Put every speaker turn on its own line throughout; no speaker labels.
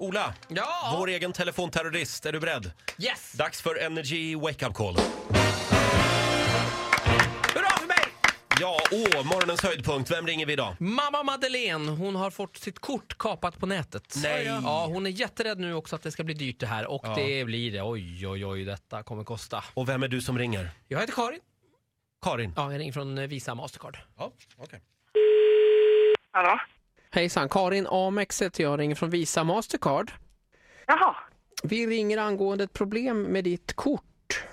Ola,
Ja.
vår egen telefonterrorist, är du beredd?
Yes!
Dags för Energy Wake Up Call.
Hurra för mig!
Ja, åh, morgonens höjdpunkt. Vem ringer vi idag?
Mamma Madeleine, hon har fått sitt kort kapat på nätet.
Nej.
Ja, hon är jätterädd nu också att det ska bli dyrt det här och
Ja.
det blir det. Oj, oj, oj, detta kommer kosta.
Och vem är du som ringer?
Jag heter Karin.
Karin?
Ja, jag ringer från eh, Visa Mastercard.
Ja, okej.
Hallå?
Hejsan, Karin Amex heter jag, ringer från Visa Mastercard.
Jaha.
Vi ringer angående ett problem med ditt kort.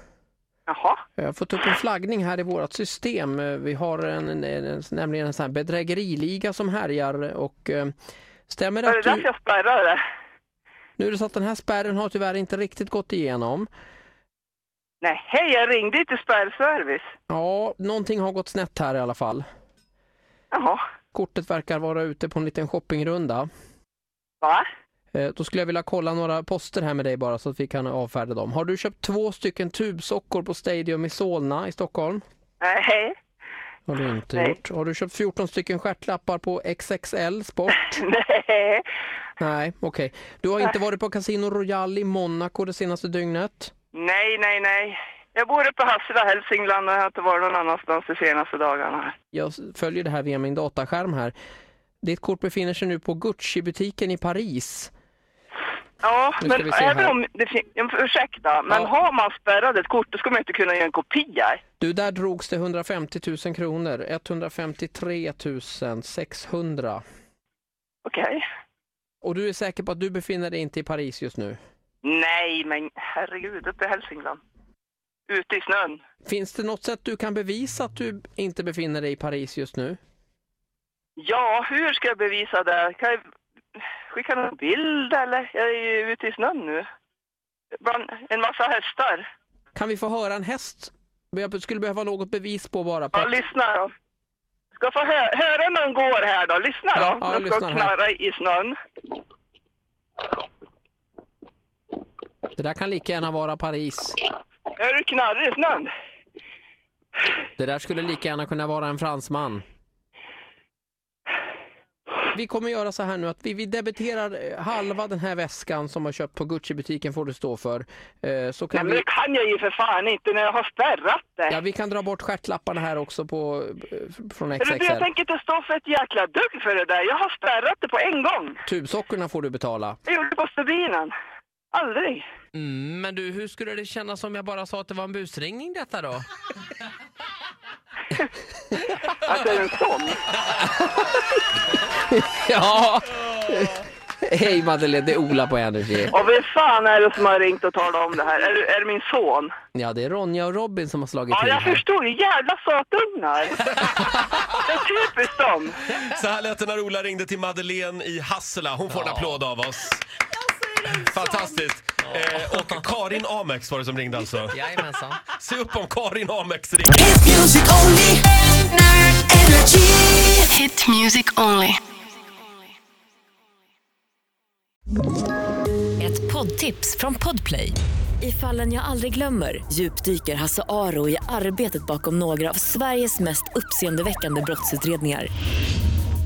Jaha.
Jag har fått upp en flaggning här i vårt system. Eh, Vi har en, en, en, nämligen en sån här bedrägeriliga som härjar och eh, stämmer det
Var det
att du...
därför jag spärrade?
Nu är det så att den här spärren har tyvärr inte riktigt gått igenom.
Nej, hej, jag ringde ju till spärrservice.
Ja, någonting har gått snett här i alla fall.
Jaha.
Kortet verkar vara ute på en liten shoppingrunda.
Va?
Eh, Då skulle jag vilja kolla några poster här med dig bara så att vi kan avfärda dem. Har du köpt två stycken tubsockor på Stadium i Solna i Stockholm?
Nej, hej.
Har du inte
Nej.
gjort. Har du köpt 14 stycken stjärtlappar på XXL Sport?
Nej.
Nej, okej. Du har inte varit på Casino Royale i Monaco det senaste dygnet?
Nej, nej, nej. Jag bor uppe i Hassela, Hälsingland och jag har inte varit någon annanstans de senaste dagarna.
Jag s- följer det här via min dataskärm här. Ditt kort befinner sig nu på Gucci-butiken i Paris.
Ja,
Nu ska
men
vi se
även
här.
om det fin- ja, men Ursäkta, men
Ja.
har man spärrat ett kort då ska man inte kunna göra en kopia.
Du, där drogs det 150 000 kronor. 153 600.
Okej.
Och du är säker på att du befinner dig inte i Paris just nu?
Nej, men herregud, uppe i Hälsingland. Ute i snön.
Finns det något sätt du kan bevisa att du inte befinner dig i Paris just nu?
Ja, hur ska jag bevisa det? Kan jag skicka någon bild eller? Jag är ju ute i snön nu. Bland en massa hästar.
Kan vi få höra en häst? Jag skulle behöva något bevis på bara. På
Ja, lyssna då. Ska få hö höra någon går här då. Lyssna då.
Ja, ja,
de ska
lyssnar här.
knarra i snön.
Det där kan lika gärna vara Paris.
Hör du knarr i snön?
Det där skulle lika gärna kunna vara en fransman. Vi kommer göra så här nu att vi, vi debiterar eh, halva den här väskan som har köpt på Gucci-butiken får du stå för. Eh, Så kan
Nej, men
vi,
det kan jag ju för fan inte när jag har spärrat det.
ja, vi kan dra bort stjärtlapparna här också på, eh, f- från
Eller du, jag
XXL.
tänker inte stå för ett jäkla dugg för det där. Jag har spärrat det på en gång.
Tubsockorna får du betala.
Jag gjorde det på stubinen. Aldrig.
Mm, men du, hur skulle det kännas om jag bara sa att det var en busringning detta då?
Att jag är en sån.
Ja! Hej Madeleine, det är Ola på Energy.
Och vem fan är det som har ringt och talat om det här? Är, det- är det min son?
Ja, det är Ronja och Robin som har slagit
Ja,
till
jag
här.
förstår ju. Jävla sötungar! Det är typiskt dem.
Så här lät det när Ola ringde till Madeleine i Hassela. Hon får en applåd av oss. Fantastiskt! Eh, och Karin Amex var det som ringde alltså.
Jajamensan.
Se upp om Karin Amex ringer.
Hit music only. Energy.
Hit music only.
Ett poddtips från Podplay. I fallen jag aldrig glömmer djupdyker Hasse Aro i arbetet bakom några av Sveriges mest uppseendeväckande brottsutredningar.